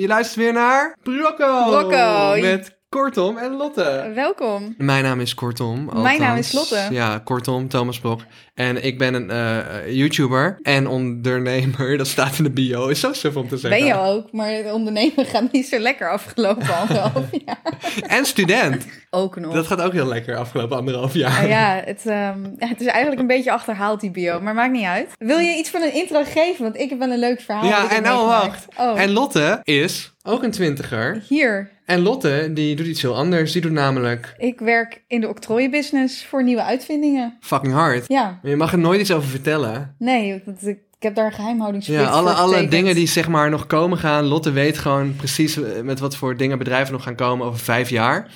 Je luistert weer naar Brocco. Brocco. Met Kortom en Lotte. Welkom. Mijn naam is Kortom. Mijn naam is Lotte. Ja, Kortom, Thomas Blok. En ik ben een eh, YouTuber en ondernemer. Dat staat in de bio. Is zo suf om te zeggen. Ben je ook, maar het ondernemen gaat niet zo lekker afgelopen anderhalf jaar. En student. Ook nog. Dat gaat ook heel lekker afgelopen anderhalf jaar. Nou ja, het, ehm, ja, het is eigenlijk een beetje achterhaald die bio, maar maakt niet uit. Wil je iets van een intro geven? Want ik heb wel een leuk verhaal. Ja, dat ik heb en oh, meegemaakt. wacht. Oh, En Lotte is ook een twintiger. hier. En Lotte, die doet iets heel anders. Die doet namelijk Ik werk in de octrooienbusiness voor nieuwe uitvindingen. fucking hard. Ja, Maar Je mag er nooit iets over vertellen. nee, want ik, ik heb daar een geheimhoudingsplicht Ja, alle, voor alle getekend. dingen die zeg maar nog komen gaan. Lotte weet gewoon precies eh, met wat voor dingen bedrijven nog gaan komen over vijf jaar.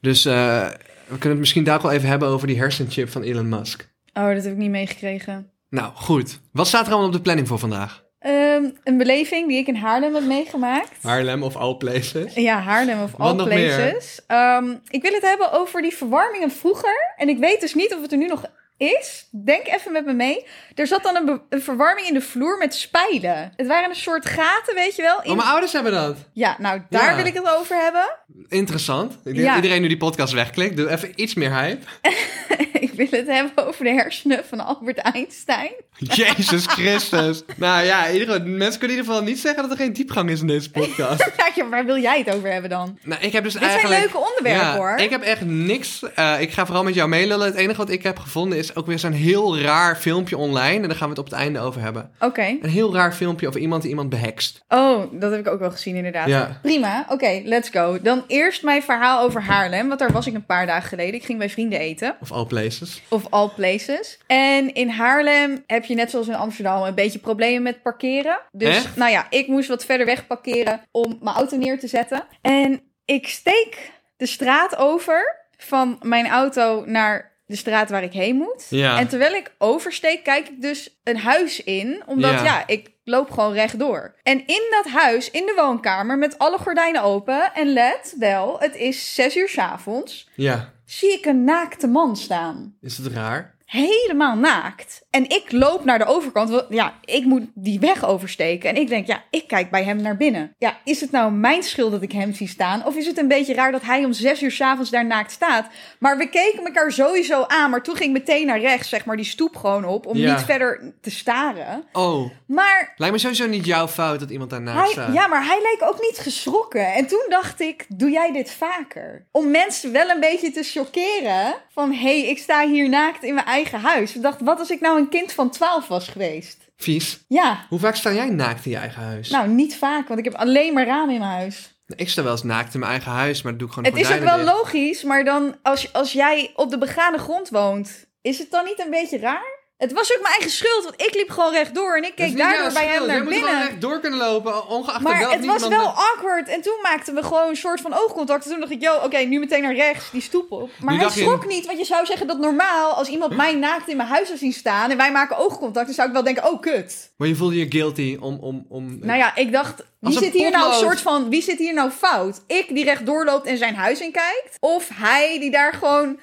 Dus eh, we kunnen het misschien daar ook wel even hebben over die hersenchip van Elon Musk. Oh, dat heb ik niet meegekregen. Nou, goed. Wat staat er allemaal op de planning voor vandaag? Ehm, een beleving die ik in Haarlem heb meegemaakt. Haarlem of all places? Ja, Haarlem of Wat all nog meer? places. Ehm, ik wil het hebben over die verwarmingen vroeger. En ik weet dus niet of het er nu nog is. Denk even met me mee. Er zat dan een, be- een verwarming in de vloer met spijlen. Het waren een soort gaten, weet je wel. Oh, In... mijn ouders hebben dat. Ja, nou daar Ja. wil ik het over hebben. Interessant. Ik denk Ja. dat iedereen nu die podcast wegklikt. Doe even iets meer hype. ik wil het hebben over de hersenen van Albert Einstein. Jezus Christus. nou ja, in ieder geval, mensen kunnen in ieder geval niet zeggen dat er geen diepgang is in deze podcast. Ja, ja, waar wil jij het over hebben dan? nou, ik heb dus Dit zijn eigenlijk... leuke onderwerpen hoor. Ik heb echt niks. eh, ik ga vooral met jou meelullen. Het enige wat ik heb gevonden is ook weer zo'n heel raar filmpje online. En daar gaan we het op het einde over hebben. Oké. Een heel raar filmpje over iemand die iemand behekst. Oh, dat heb ik ook wel gezien inderdaad. Ja. Prima, oké, let's go. Dan eerst mijn verhaal over Haarlem, want daar was ik een paar dagen geleden. Ik ging bij vrienden eten. Of all places. Of all places. En in Haarlem heb je net zoals in Amsterdam een beetje problemen met parkeren. Dus Echt? nou ja, ik moest wat verder weg parkeren om mijn auto neer te zetten. En ik steek de straat over van mijn auto naar de straat waar ik heen moet. Ja. En terwijl ik oversteek, kijk ik dus een huis in. Omdat Ja. ja, ik loop gewoon rechtdoor. En in dat huis, in de woonkamer, met alle gordijnen open. En let wel, het is zes uur 's avonds. Ja. Zie ik een naakte man staan Is het raar? helemaal naakt. En ik loop naar de overkant. want Ja, ik moet die weg oversteken. En ik denk, ja, ik kijk bij hem naar binnen. Ja, is het nou mijn schuld dat ik hem zie staan? Of is het een beetje raar dat hij om zes uur s'avonds daar naakt staat? Maar we keken elkaar sowieso aan. Maar toen ging ik meteen naar rechts, zeg maar, die stoep gewoon op. Om Ja. niet verder te staren. Oh, Maar... lijkt me sowieso niet jouw fout dat iemand daarnaast Hij, staat. ja, maar hij leek ook niet geschrokken. En toen dacht ik, doe jij dit vaker? Om mensen wel een beetje te chockeren. Van, hé, hey, ik sta hier naakt in mijn eigen huis. Ik dacht, wat als ik nou een kind van 12 was geweest? Vies. Ja, Hoe vaak sta jij naakt in je eigen huis? nou, niet vaak, want ik heb alleen maar ramen in mijn huis. Ik sta wel eens naakt in mijn eigen huis, maar dat doe ik gewoon Het is ook gordijnen wel dicht. logisch, maar dan als, als jij op de begane grond woont, is het dan niet een beetje raar? Het was ook mijn eigen schuld, want ik liep gewoon rechtdoor en ik Dat is keek niet daardoor jouw bij hem schuld. naar Jij moet gewoon binnen. echt door kunnen lopen, ongeacht Maar welk het was niemand- wel awkward. En toen maakten we gewoon een soort van oogcontact. En toen dacht ik, yo, oké, nu meteen naar rechts, die stoep op. Maar Nu hij dacht je- schrok niet, want je zou zeggen dat normaal... als iemand mij naakt in mijn huis zou zien staan... en wij maken oogcontact, dan zou ik wel denken, oh, kut. Maar je voelde je guilty om... om, om Nou ja, ik dacht, wie een zit hier nou een potlood. soort van... wie zit hier nou fout? Ik die rechtdoor loopt en zijn huis in kijkt? Of hij die daar gewoon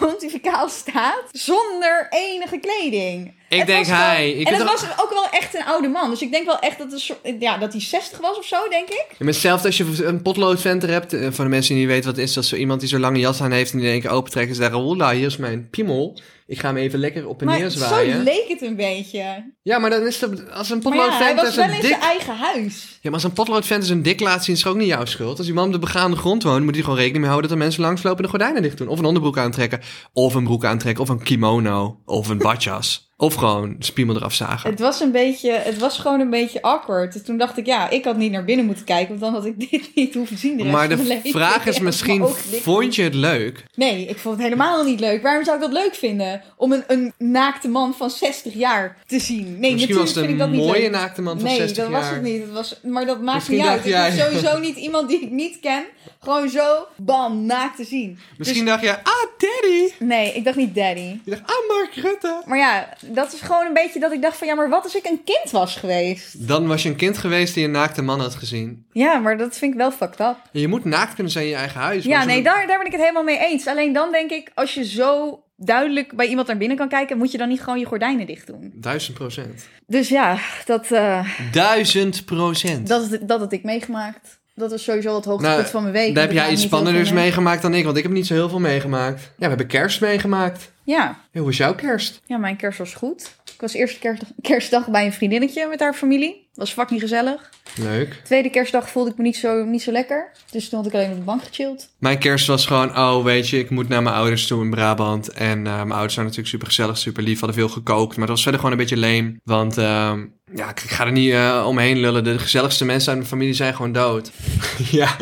pontificaal staat zonder enige kleding? Ik Het denk was gewoon- hij. Je en kunt het toch- was ook wel echt een oude man. Dus ik denk wel echt dat, het een soort- ja, dat hij 60 was of zo, denk ik. Ja, maar hetzelfde als je een potloodventer hebt. eh, Voor de mensen die niet weten wat het is, dat zo iemand die zo'n lange jas aan heeft en die in één keer opentrekt en zeggen: Oela, hier is mijn piemel. Ik ga hem even lekker op en neer Maar zwaaien. zo leek het een beetje. ja, maar dan is dat als een Maar ja, hij potloodventer was wel in zijn dik. zijn eigen huis. Ja, maar als een potloodventer zijn dik laat zien, is het ook niet jouw schuld. Als die man op de begaande grond woont, moet hij gewoon rekening mee houden dat er mensen langslopen en de gordijnen dicht doen. Of een onderbroek aantrekken, of een broek aantrekken, of een kimono, of een badjas. of gewoon de spiemel eraf zagen. Het was, een beetje, het was gewoon een beetje awkward. Dus toen dacht ik, ja, ik had niet naar binnen moeten kijken, want dan had ik dit niet hoeven zien. De rest maar van mijn de leven. vraag is Ja, misschien, maar ook dit- vond je het leuk? Nee, ik vond het helemaal niet leuk. Waarom zou ik dat leuk vinden? Om een, een naakte man van 60 jaar te zien. Nee, Misschien was het natuurlijk vind een ik dat niet mooie leuk. naakte man van nee, 60 dat jaar. was het niet. Dat was, maar dat maakt Misschien niet uit. dacht jij- Ik hoef sowieso niet iemand die ik niet ken, gewoon zo, bam, naakt te zien. Misschien dacht je, ah, daddy. Dus nee, ik dacht niet daddy. Je dacht, ah, Mark Rutte. Maar ja, dat is gewoon een beetje dat ik dacht van ja, maar wat als ik een kind was geweest? Dan was je een kind geweest die een naakte man had gezien. Ja, maar dat vind ik wel fucked up. En je moet naakt kunnen zijn in je eigen huis. Ja, want nee, zo'n- daar, daar ben ik het helemaal mee eens. Alleen dan denk ik, als je zo duidelijk bij iemand naar binnen kan kijken, moet je dan niet gewoon je gordijnen dicht doen. Duizend procent. Dus ja, dat, eh, Duizend procent. dat, is- dat had ik meegemaakt. Dat was sowieso het hoogtepunt Nou, van mijn week. Daar heb want ik jij maak iets niet heel veel spannenders mee. meegemaakt dan ik, want ik heb niet zo heel veel meegemaakt. Ja, we hebben kerst meegemaakt. Ja. Ja, Hoe was jouw kerst? Ja, mijn kerst was goed. Ik was eerst kerstdag, kerstdag bij een vriendinnetje met haar familie. Was fucking gezellig. Leuk. Tweede kerstdag voelde ik me niet zo, niet zo lekker. Dus toen had ik alleen op de bank gechilled. Mijn kerst was gewoon, oh weet je, ik moet naar mijn ouders toe in Brabant. En eh, mijn ouders zijn natuurlijk super gezellig, super lief, hadden veel gekookt. Maar het was verder gewoon een beetje leem. Want ehm, ja, ik, ik ga er niet eh, omheen lullen. De gezelligste mensen uit mijn familie zijn gewoon dood. ja.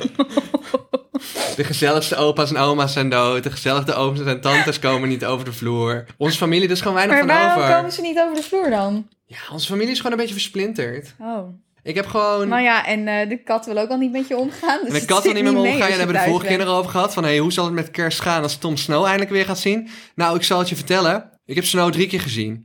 De gezelligste opa's en oma's zijn dood. De gezelligste ooms en tantes komen niet over de vloer. Onze familie, er is gewoon weinig Maar van waarom over. komen ze niet over de vloer dan? Ja, onze familie is gewoon een beetje versplinterd. Oh. Ik heb gewoon... Nou ja, en eh, de kat wil ook al niet met je omgaan. Dus en ik had het er zit niet met me mee omgaan. als Daar je hebben we de thuis vorige keer bent. nog over gehad. Van, hey, hoe zal het met kerst gaan als Tom Snow eindelijk weer gaat zien? Nou, ik zal het je vertellen. Ik heb Snow drie keer gezien.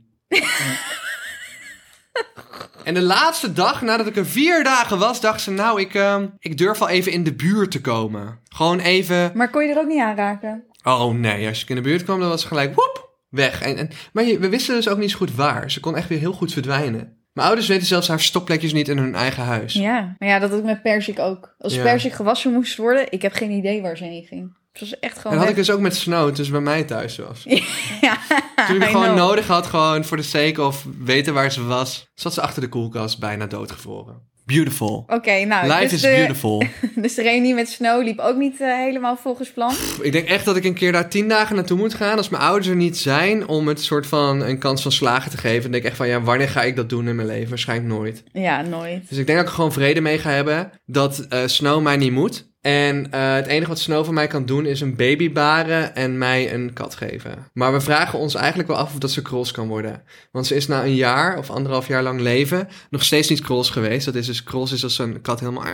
en de laatste dag, nadat ik er vier dagen was, dacht ze... Nou, ik, ehm, ik durf wel even in de buurt te komen. Gewoon even... Maar kon je er ook niet aanraken? Oh nee, als ik in de buurt kwam, dan was ze gelijk... Woep, weg. En, en, maar je- we wisten dus ook niet zo goed waar. Ze kon echt weer heel goed verdwijnen. Mijn ouders weten zelfs haar stopplekjes niet in hun eigen huis. Ja. Maar ja, dat had ik met persik ook. Als Ja. persik gewassen moest worden, ik heb geen idee waar ze heen ging. Het was echt En gewoon... dat had ik weg. dus ook met Snow, dus bij mij thuis was. Oh, Ja, Toen ik I het gewoon know. nodig had, gewoon voor de sake of weten waar ze was, zat ze achter de koelkast bijna doodgevroren. Beautiful. Oké, nou, Life dus, is de, beautiful. dus de reunie met Snow liep ook niet eh, helemaal volgens plan. Pff, ik denk echt dat ik een keer daar tien dagen naartoe moet gaan als mijn ouders er niet zijn om het soort van een kans van slagen te geven. Dan denk ik echt van ja, wanneer ga ik dat doen in mijn leven? Waarschijnlijk nooit. Ja, nooit. Dus ik denk dat ik er gewoon vrede mee ga hebben dat eh, Snow mij niet moet. En eh, het enige wat Snow van mij kan doen is een baby baren en mij een kat geven. Maar we vragen ons eigenlijk wel af of dat ze cross kan worden. Want ze is na een jaar of anderhalf jaar lang leven nog steeds niet cross geweest. Dat is dus cross is als een kat helemaal...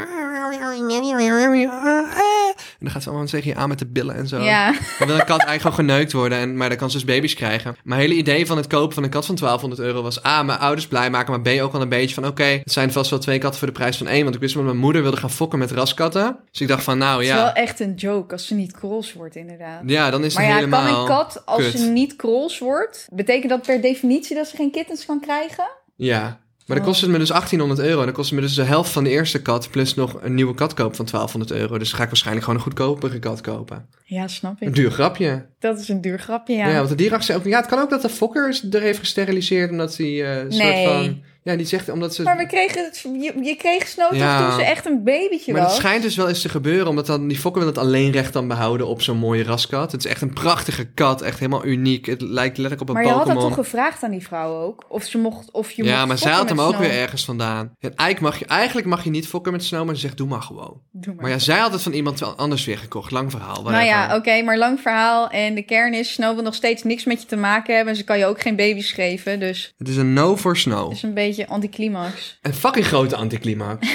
En dan gaat ze allemaal tegen je aan met de billen en zo. Oh, Ja. Dan wil een kat eigenlijk gewoon geneukt worden, en, maar dan kan ze dus baby's krijgen. Mijn hele idee van het kopen van een kat van 1200 euro was A, mijn ouders blij maken, maar B, ook al een beetje van oké, het zijn vast wel twee katten voor de prijs van één. Want ik wist dat mijn moeder wilde gaan fokken met raskatten. Dus ik dacht van nou Het is wel ja, echt een joke als ze niet cross wordt, inderdaad. ja dan is het maar ja, helemaal... kan een kat, als kut. ze niet cross wordt, betekent dat per definitie dat ze geen kittens kan krijgen? Ja. Maar Oh. dan kost het me dus 1800 euro. En dan kost het me dus de helft van de eerste kat. Plus nog een nieuwe kat kopen van 1200 euro. Dus dan ga ik waarschijnlijk gewoon een goedkopere kat kopen. Ja, snap Een ik. duur grapje. Dat is een duur grapje, Ja, ja. want de dierenarts zei ook... Ja, het kan ook dat de fokker er heeft gesteriliseerd. Omdat hij eh, een Nee. soort van... Ja, die zegt omdat ze... Maar we kregen, het- je, je kreeg Snow toch Ja. toen ze echt een babytje Maar dat was? schijnt dus wel eens te gebeuren, omdat dan die fokken wil het alleenrecht dan behouden op zo'n mooie raskat. Het is echt een prachtige kat, echt helemaal uniek. Het lijkt letterlijk op een Maar je had dat Pokémon. toch gevraagd aan die vrouw ook? Of ze mocht, of je mocht Ja, maar zij had fokken hem met ook Snow. weer ergens vandaan. En eigenlijk mag, je, eigenlijk mag je niet fokken met Snow, maar ze zegt doe maar gewoon. Doe Maar ja, zij had het van iemand anders weer gekocht. Lang verhaal. nou ja, oké, whatever. maar lang verhaal. En de kern is, Snow wil nog steeds niks met je te maken hebben. En ze kan je ook geen baby's geven. Dus Het is een no voor Snow. het is een beetje anticlimax. Een fucking grote anticlimax.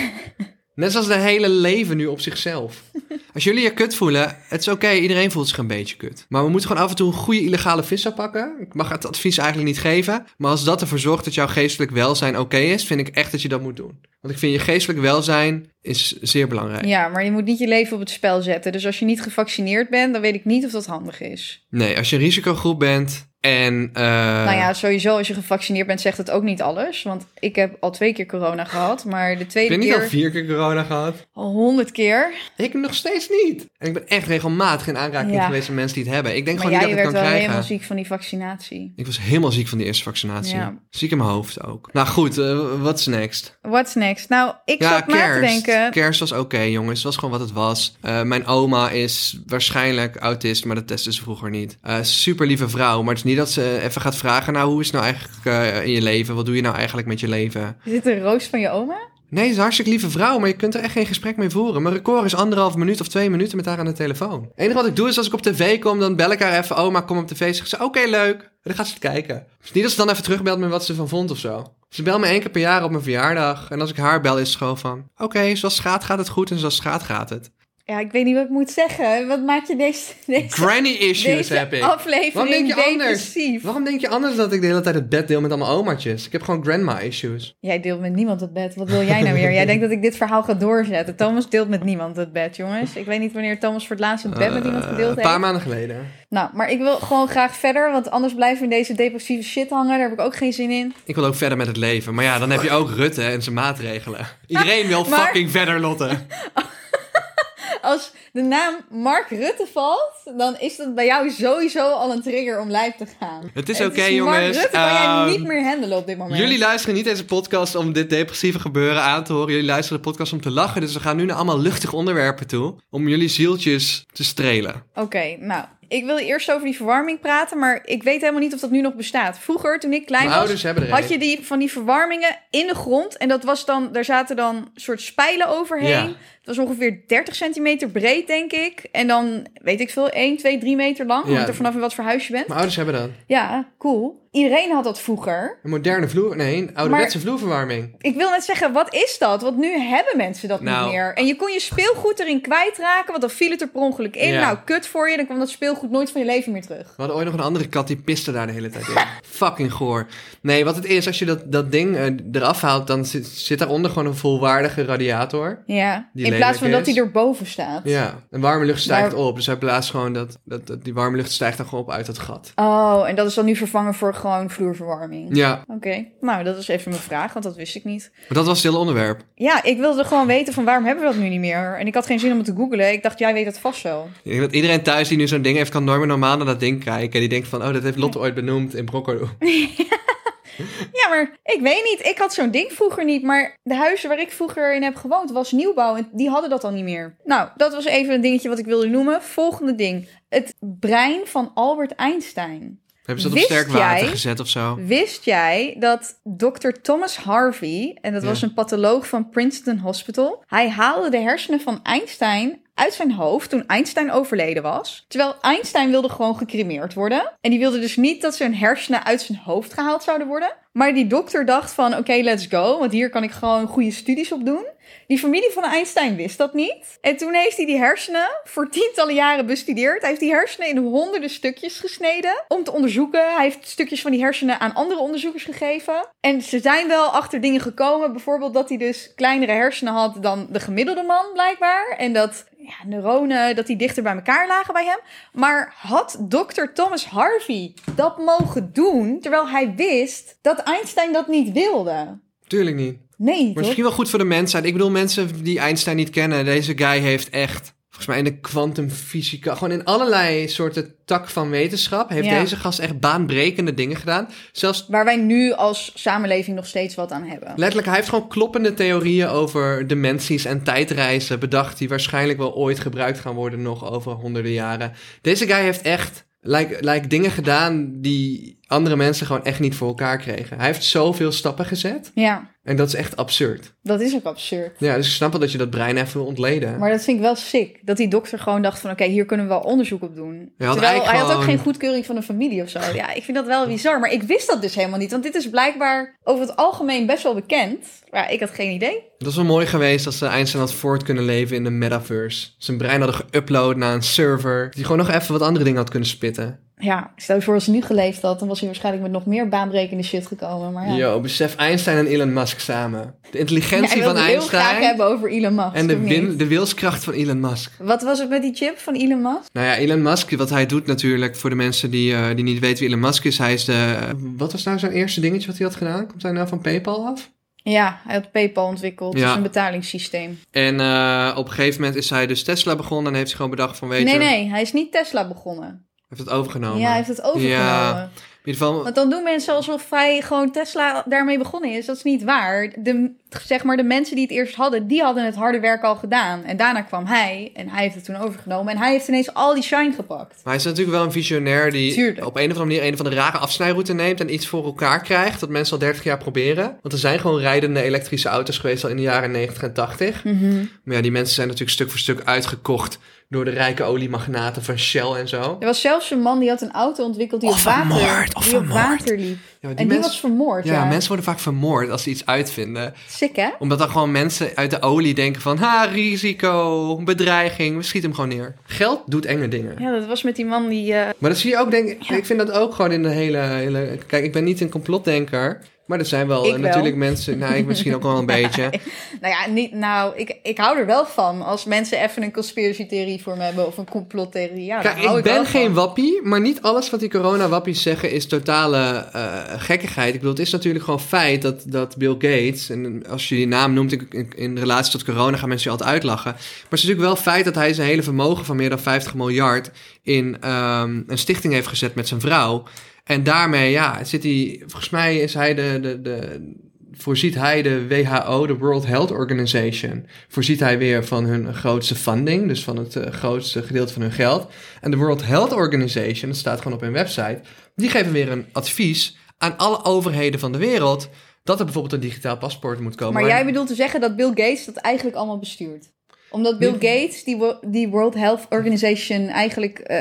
Net zoals de hele leven nu op zichzelf. Als jullie je kut voelen, het is oké, iedereen voelt zich een beetje kut. Maar we moeten gewoon af en toe een goede illegale visser pakken. Ik mag het advies eigenlijk niet geven. Maar als dat ervoor zorgt dat jouw geestelijk welzijn oké is, vind ik echt dat je dat moet doen. Want ik vind je geestelijk welzijn is zeer belangrijk. Ja, maar je moet niet je leven op het spel zetten. Dus als je niet gevaccineerd bent, dan weet ik niet of dat handig is. Nee, als je een risicogroep bent en... eh, Nou ja, sowieso als je gevaccineerd bent, zegt het ook niet alles. Want ik heb al twee keer corona gehad. Maar de ik tweede ben niet al keer vier keer corona gehad. al honderd keer. Ik nog steeds niet. En ik ben echt regelmatig in aanraking Ja. geweest met mensen die het hebben. Ik denk Maar gewoon jij niet dat ik werd het wel kan krijgen. helemaal ziek van die vaccinatie. Ik was helemaal ziek van die eerste vaccinatie. Ja. Ziek in mijn hoofd ook. Nou goed, eh, wat is next? What's next? Nou, ik zat na te denken. Kerst was oké, jongens. Het was gewoon wat het was. Eh, mijn oma is waarschijnlijk autist, maar dat testen ze vroeger niet. Eh super lieve vrouw, maar het is niet dat ze even gaat vragen... nou, hoe is het nou eigenlijk eh, in je leven? Wat doe je nou eigenlijk met je leven? Is dit een roos van je oma? Nee, ze is een hartstikke lieve vrouw, maar je kunt er echt geen gesprek mee voeren. Mijn record is anderhalf minuut of twee minuten met haar aan de telefoon. Het enige wat ik doe is als ik op tv kom, dan bel ik haar even... oma, kom op tv. Zegt ze, oké, leuk. En dan gaat ze het kijken. Het is niet dat ze dan even terugbelt met wat ze ervan vond of zo. Ze belt me één keer per jaar op mijn verjaardag. En als ik haar bel, is het gewoon van... oké, zoals het gaat, gaat het goed en zoals het gaat, gaat het. Ja, ik weet niet wat ik moet zeggen. Wat maakt je deze, deze, Granny issues deze heb ik. Waarom denk aflevering je anders? depressief? Waarom denk je anders dat ik de hele tijd het bed deel met allemaal omaatjes? Ik heb gewoon grandma issues. Jij deelt met niemand het bed. Wat wil jij nou weer? Jij denkt dat ik dit verhaal ga doorzetten. Thomas deelt met niemand het bed, jongens. Ik weet niet wanneer Thomas voor het laatst het bed met iemand Eh, gedeeld Een heeft. paar maanden geleden. Nou, maar ik wil gewoon graag verder, want anders blijven we in deze depressieve shit hangen. Daar heb ik ook geen zin in. Ik wil ook verder met het leven. Maar ja, dan heb je ook Rutte en zijn maatregelen. Iedereen wil Maar- fucking verder, Lotte. Als de naam Mark Rutte valt, dan is dat bij jou sowieso al een trigger om lijf te gaan. Het is Het oké, Mark jongens. Rutte kan jij Ehm, niet meer handelen op dit moment. Jullie luisteren niet deze podcast om dit depressieve gebeuren aan te horen. Jullie luisteren de podcast om te lachen. Dus we gaan nu naar allemaal luchtige onderwerpen toe. Om jullie zieltjes te strelen. Oké, nou. Ik wil eerst over die verwarming praten, maar ik weet helemaal niet of dat nu nog bestaat. Vroeger, toen ik klein Mijn was, ouders hebben er had een. je die, van die verwarmingen in de grond. En dat was dan, daar zaten dan soort spijlen overheen. Ja. Het was ongeveer 30 centimeter breed, denk ik. En dan, weet ik veel, 1, 2, 3 meter lang. Ja. Hangt er vanaf in wat voor huis je bent. Mijn ouders hebben dan Ja, cool. Iedereen had dat vroeger. een moderne vloer. Nee, een ouderwetse vloerverwarming. Ik wil net zeggen, wat is dat? Want nu hebben mensen dat Nou. niet meer. En je kon je speelgoed erin kwijtraken, want dan viel het er per ongeluk in. Ja. Nou, kut voor je. Dan kwam dat speelgoed nooit van je leven meer terug. We hadden ooit nog een andere kat die piste daar de hele tijd in. Fucking goor. Nee, wat het is, als je dat, dat ding eh, eraf haalt, dan zit, zit daaronder gewoon een volwaardige radiator. Ja, Die in plaats van lelijk dat is. hij erboven staat. Ja, en warme lucht stijgt Maar- op. Dus hij blaast gewoon dat, dat, dat- die warme lucht stijgt dan gewoon op uit dat gat. Oh, en dat is dan nu vervangen voor gewoon vloerverwarming. Ja, Oké, nou dat is even mijn vraag, want dat wist ik niet. maar dat was het hele onderwerp. Ja, ik wilde gewoon weten van waarom hebben we dat nu niet meer? En ik had geen zin om het te googlen. Ik dacht, jij weet het vast zo. Ik denk dat iedereen thuis die nu zo'n ding heeft, kan nooit meer normaal naar dat ding kijken. En die denkt van, oh, dat heeft Lotte ooit benoemd in Broccolo. Ja, maar ik weet niet. Ik had zo'n ding vroeger niet. Maar de huizen waar ik vroeger in heb gewoond was nieuwbouw. En die hadden dat al niet meer. Nou, dat was even een dingetje wat ik wilde noemen. Volgende ding. Het brein van Albert Einstein. Hebben ze dat op Wist sterk water jij- gezet of zo? Wist jij dat Dr. Thomas Harvey, en dat Ja. was een patholoog van Princeton Hospital, hij haalde de hersenen van Einstein uit zijn hoofd toen Einstein overleden was. Terwijl Einstein wilde gewoon gecremeerd worden. En die wilde dus niet dat zijn hersenen uit zijn hoofd gehaald zouden worden. Maar die dokter dacht van, oké, let's go, want hier kan ik gewoon goede studies op doen. Die familie van Einstein wist dat niet. En toen heeft hij die hersenen voor tientallen jaren bestudeerd. Hij heeft die hersenen in honderden stukjes gesneden om te onderzoeken. Hij heeft stukjes van die hersenen aan andere onderzoekers gegeven. En ze zijn wel achter dingen gekomen. Bijvoorbeeld dat hij dus kleinere hersenen had dan de gemiddelde man blijkbaar. En dat ja, neuronen, dat die dichter bij elkaar lagen bij hem. Maar had dokter Thomas Harvey dat mogen doen, terwijl hij wist dat Einstein dat niet wilde? Tuurlijk niet. Nee, Maar toch? misschien wel goed voor de mensheid. Ik bedoel, mensen die Einstein niet kennen, deze guy heeft echt, volgens mij in de kwantumfysica, gewoon in allerlei soorten tak van wetenschap, heeft Ja. deze gast echt baanbrekende dingen gedaan. Zelfs waar wij nu als samenleving nog steeds wat aan hebben. Letterlijk, hij heeft gewoon kloppende theorieën over dimensies en tijdreizen bedacht... die waarschijnlijk wel ooit gebruikt gaan worden nog over honderden jaren. Deze guy heeft echt like, like, dingen gedaan die andere mensen gewoon echt niet voor elkaar kregen. Hij heeft zoveel stappen gezet Ja, en dat is echt absurd. dat is ook absurd. Ja, dus ik snap wel dat je dat brein even wil ontleden. Maar dat vind ik wel sick. Dat die dokter gewoon dacht van... oké, hier kunnen we wel onderzoek op doen. Ja, had Terwijl eigenlijk hij had ook gewoon- geen goedkeuring van de familie of zo. Ja, ik vind dat wel bizar. Maar ik wist dat dus helemaal niet. Want dit is blijkbaar over het algemeen best wel bekend. Maar ik had geen idee. Dat is wel mooi geweest als ze Einstein had voort kunnen leven in de metaverse. Zijn brein hadden geüpload naar een server... die gewoon nog even wat andere dingen had kunnen spitten. Ja, stel je voor als hij nu geleefd had... dan was hij waarschijnlijk met nog meer baanbrekende shit gekomen. Maar Oh ja, Yo, besef Einstein en Elon Musk samen. De Ja, intelligentie hij van wilde het heel Einstein... graag hebben over Elon Musk. En de, of win, niet? de wilskracht van Elon Musk. Wat was het met die chip van Elon Musk? Nou ja, Elon Musk, wat hij doet natuurlijk, voor de mensen die, eh, die niet weten wie Elon Musk is, hij is de... Wat was nou zijn eerste dingetje wat hij had gedaan? Komt hij nou van PayPal af? Ja, hij had PayPal ontwikkeld. Ja. Dat is een betalingssysteem. En eh, op een gegeven moment is hij dus Tesla begonnen en heeft hij gewoon bedacht van, weet Nee, je... nee, hij is niet Tesla begonnen. Heeft het overgenomen. Ja, hij heeft het overgenomen. Oh, Ja. In ieder geval, Want dan doen mensen alsof hij gewoon Tesla daarmee begonnen is. Dat is niet waar. De, zeg maar, de mensen die het eerst hadden, die hadden het harde werk al gedaan. En daarna kwam hij en hij heeft het toen overgenomen. En hij heeft ineens al die shine gepakt. maar hij is natuurlijk wel een visionair die Tuurlijk. op een of andere manier een van de rare afsnijroute neemt en iets voor elkaar krijgt dat mensen al 30 jaar proberen. Want er zijn gewoon rijdende Mhm. elektrische auto's geweest al in de jaren 90 en 80. Maar ja, die mensen zijn natuurlijk stuk voor stuk uitgekocht door de rijke oliemagnaten van Shell en zo. Er was zelfs een man die had een auto ontwikkeld die Of op water, vermoord, of die op vermoord. water liep. Ja, die en die mens- was vermoord. Ja, Ja, mensen worden vaak vermoord als ze iets uitvinden. Sick hè? Omdat dan gewoon mensen uit de olie denken van... Ha, risico, bedreiging, we schieten hem gewoon neer. Geld doet enge dingen. Ja, dat was met die man die... eh, Maar dat zie je ook, denk ik. Ik vind dat ook gewoon in de hele, hele. Kijk, ik ben niet een complotdenker. Maar er zijn wel Ik eh, wel. natuurlijk mensen. Nou, ik misschien ook wel een beetje. nou ja, niet, nou, ik, ik hou er wel van als mensen even een conspiracy-theorie voor me hebben of een complottheorie. Ja, daar Kijk, hou ik wel ben geen van. wappie, maar niet alles wat die corona-wappies zeggen is totale eh, gekkigheid. Ik bedoel, het is natuurlijk gewoon feit dat, dat Bill Gates, en als je die naam noemt in, in, in relatie tot corona, gaan mensen je altijd uitlachen. Maar het is natuurlijk wel feit dat hij zijn hele vermogen van meer dan 50 miljard in ehm, een stichting heeft gezet met zijn vrouw. En daarmee, ja, zit hij, volgens mij is hij de, de, de, voorziet hij de WHO, de World Health Organization, voorziet hij weer van hun grootste funding, dus van het eh, grootste gedeelte van hun geld. En de World Health Organization, dat staat gewoon op hun website, die geven weer een advies aan alle overheden van de wereld dat er bijvoorbeeld een digitaal paspoort moet komen. Maar jij bedoelt te zeggen dat Bill Gates dat eigenlijk allemaal bestuurt? Omdat Bill Gates die, wo- die World Health Organization eigenlijk eh,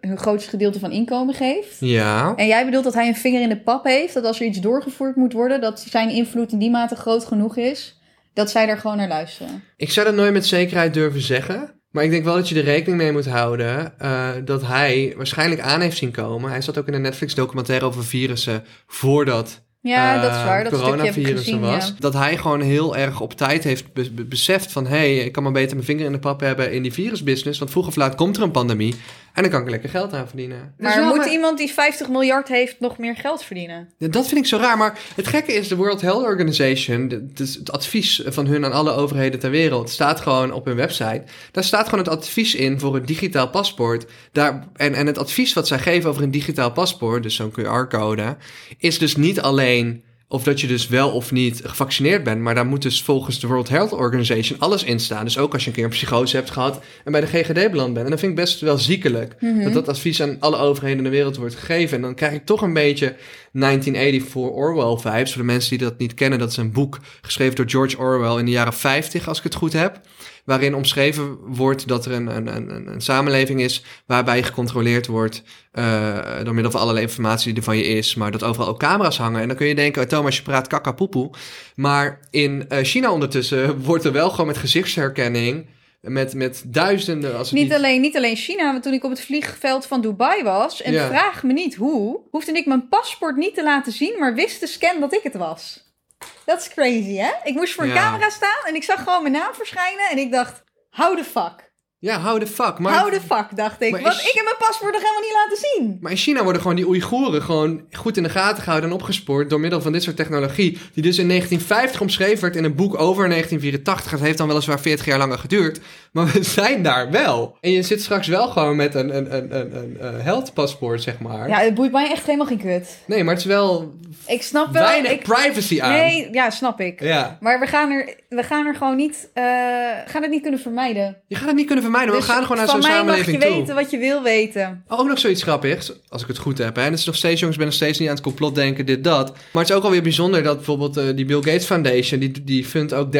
hun grootste gedeelte van inkomen geeft? Ja. En jij bedoelt dat hij een vinger in de pap heeft, dat als er iets doorgevoerd moet worden, dat zijn invloed in die mate groot genoeg is, dat zij daar gewoon naar luisteren. Ik zou dat nooit met zekerheid durven zeggen. Maar ik denk wel dat je er rekening mee moet houden eh, dat hij waarschijnlijk aan heeft zien komen. Hij zat ook in een Netflix-documentaire over virussen voordat Ja, dat is eh, waar. Dat stukje heb ik coronavirus er gezien. was. ja. Dat hij gewoon heel erg op tijd heeft be- be- beseft van... hé, hey, ik kan maar beter mijn vinger in de pap hebben in die virusbusiness... want vroeg of laat komt er een pandemie en dan kan ik er lekker geld aan verdienen. Dus Maar ja, moet iemand die 50 miljard heeft nog meer geld verdienen? ja, Dat vind ik zo raar, maar het gekke is... de World Health Organization, de- het, is het advies van hun aan alle overheden ter wereld... staat gewoon op hun website. Daar staat gewoon het advies in voor een digitaal paspoort. Daar, en, en het advies wat zij geven over een digitaal paspoort... dus zo'n QR-code, is dus niet alleen... Of dat je dus wel of niet gevaccineerd bent. Maar daar moet dus volgens de World Health Organization alles in staan. Dus ook als je een keer een psychose hebt gehad en bij de GGD beland bent. En dat vind ik best wel ziekelijk. Dat dat advies aan alle overheden in de wereld wordt gegeven. En dan krijg ik toch een beetje 1984 Orwell vibes. Voor de mensen die dat niet kennen, dat is een boek geschreven door George Orwell in de jaren 50, als ik het goed heb. Waarin omschreven wordt dat er een, een, een, een- een samenleving is waarbij je gecontroleerd wordt eh, door middel van allerlei informatie die er van je is, maar dat overal ook camera's hangen. En dan kun je denken, oh, Thomas, je praat kakapoepoe. Maar in eh, China ondertussen wordt er wel gewoon met gezichtsherkenning, met, met duizenden... Als het Niet alleen, niet alleen China, want toen ik op het vliegveld van Dubai was, en Ja. vraag me niet hoe, hoefde ik mijn paspoort niet te laten zien, maar wist de scan dat ik het was. Dat is crazy, hè? Ik moest voor een Ja. camera staan en ik zag gewoon mijn naam verschijnen en ik dacht, hou de fuck. Ja, hou de fuck. Maar, hou de fuck, dacht ik. maar Want is- ik heb mijn paspoort nog helemaal niet laten zien. maar in China worden gewoon die Oeigoeren gewoon goed in de gaten gehouden en opgespoord door middel van dit soort technologie, die dus in 1950 omschreven werd in een boek over 1984. Het heeft dan weliswaar 40 jaar langer geduurd, maar we zijn daar wel. En je zit straks wel gewoon met een, een, een, een, een, eh, heldpaspoort, zeg maar. Ja, het boeit mij echt helemaal geen kut. Nee, maar het is wel Ik snap wel... weinig ik... privacy aan. Nee, ja, snap ik. Ja. Maar we gaan er, we gaan er gewoon niet, eh, gaan het niet kunnen vermijden. Je gaat het niet kunnen vermijden. maar Dus we gaan gewoon naar zo'n van mij mag je samenleving toe. weten wat je wil weten. Oh, Ook nog zoiets grappigs, als ik het goed heb. Hè. En het is nog steeds, jongens, ik ben nog steeds niet aan het complot denken, dit, dat. Maar het is ook alweer bijzonder dat bijvoorbeeld eh, die Bill Gates Foundation... die, die fundt ook 30%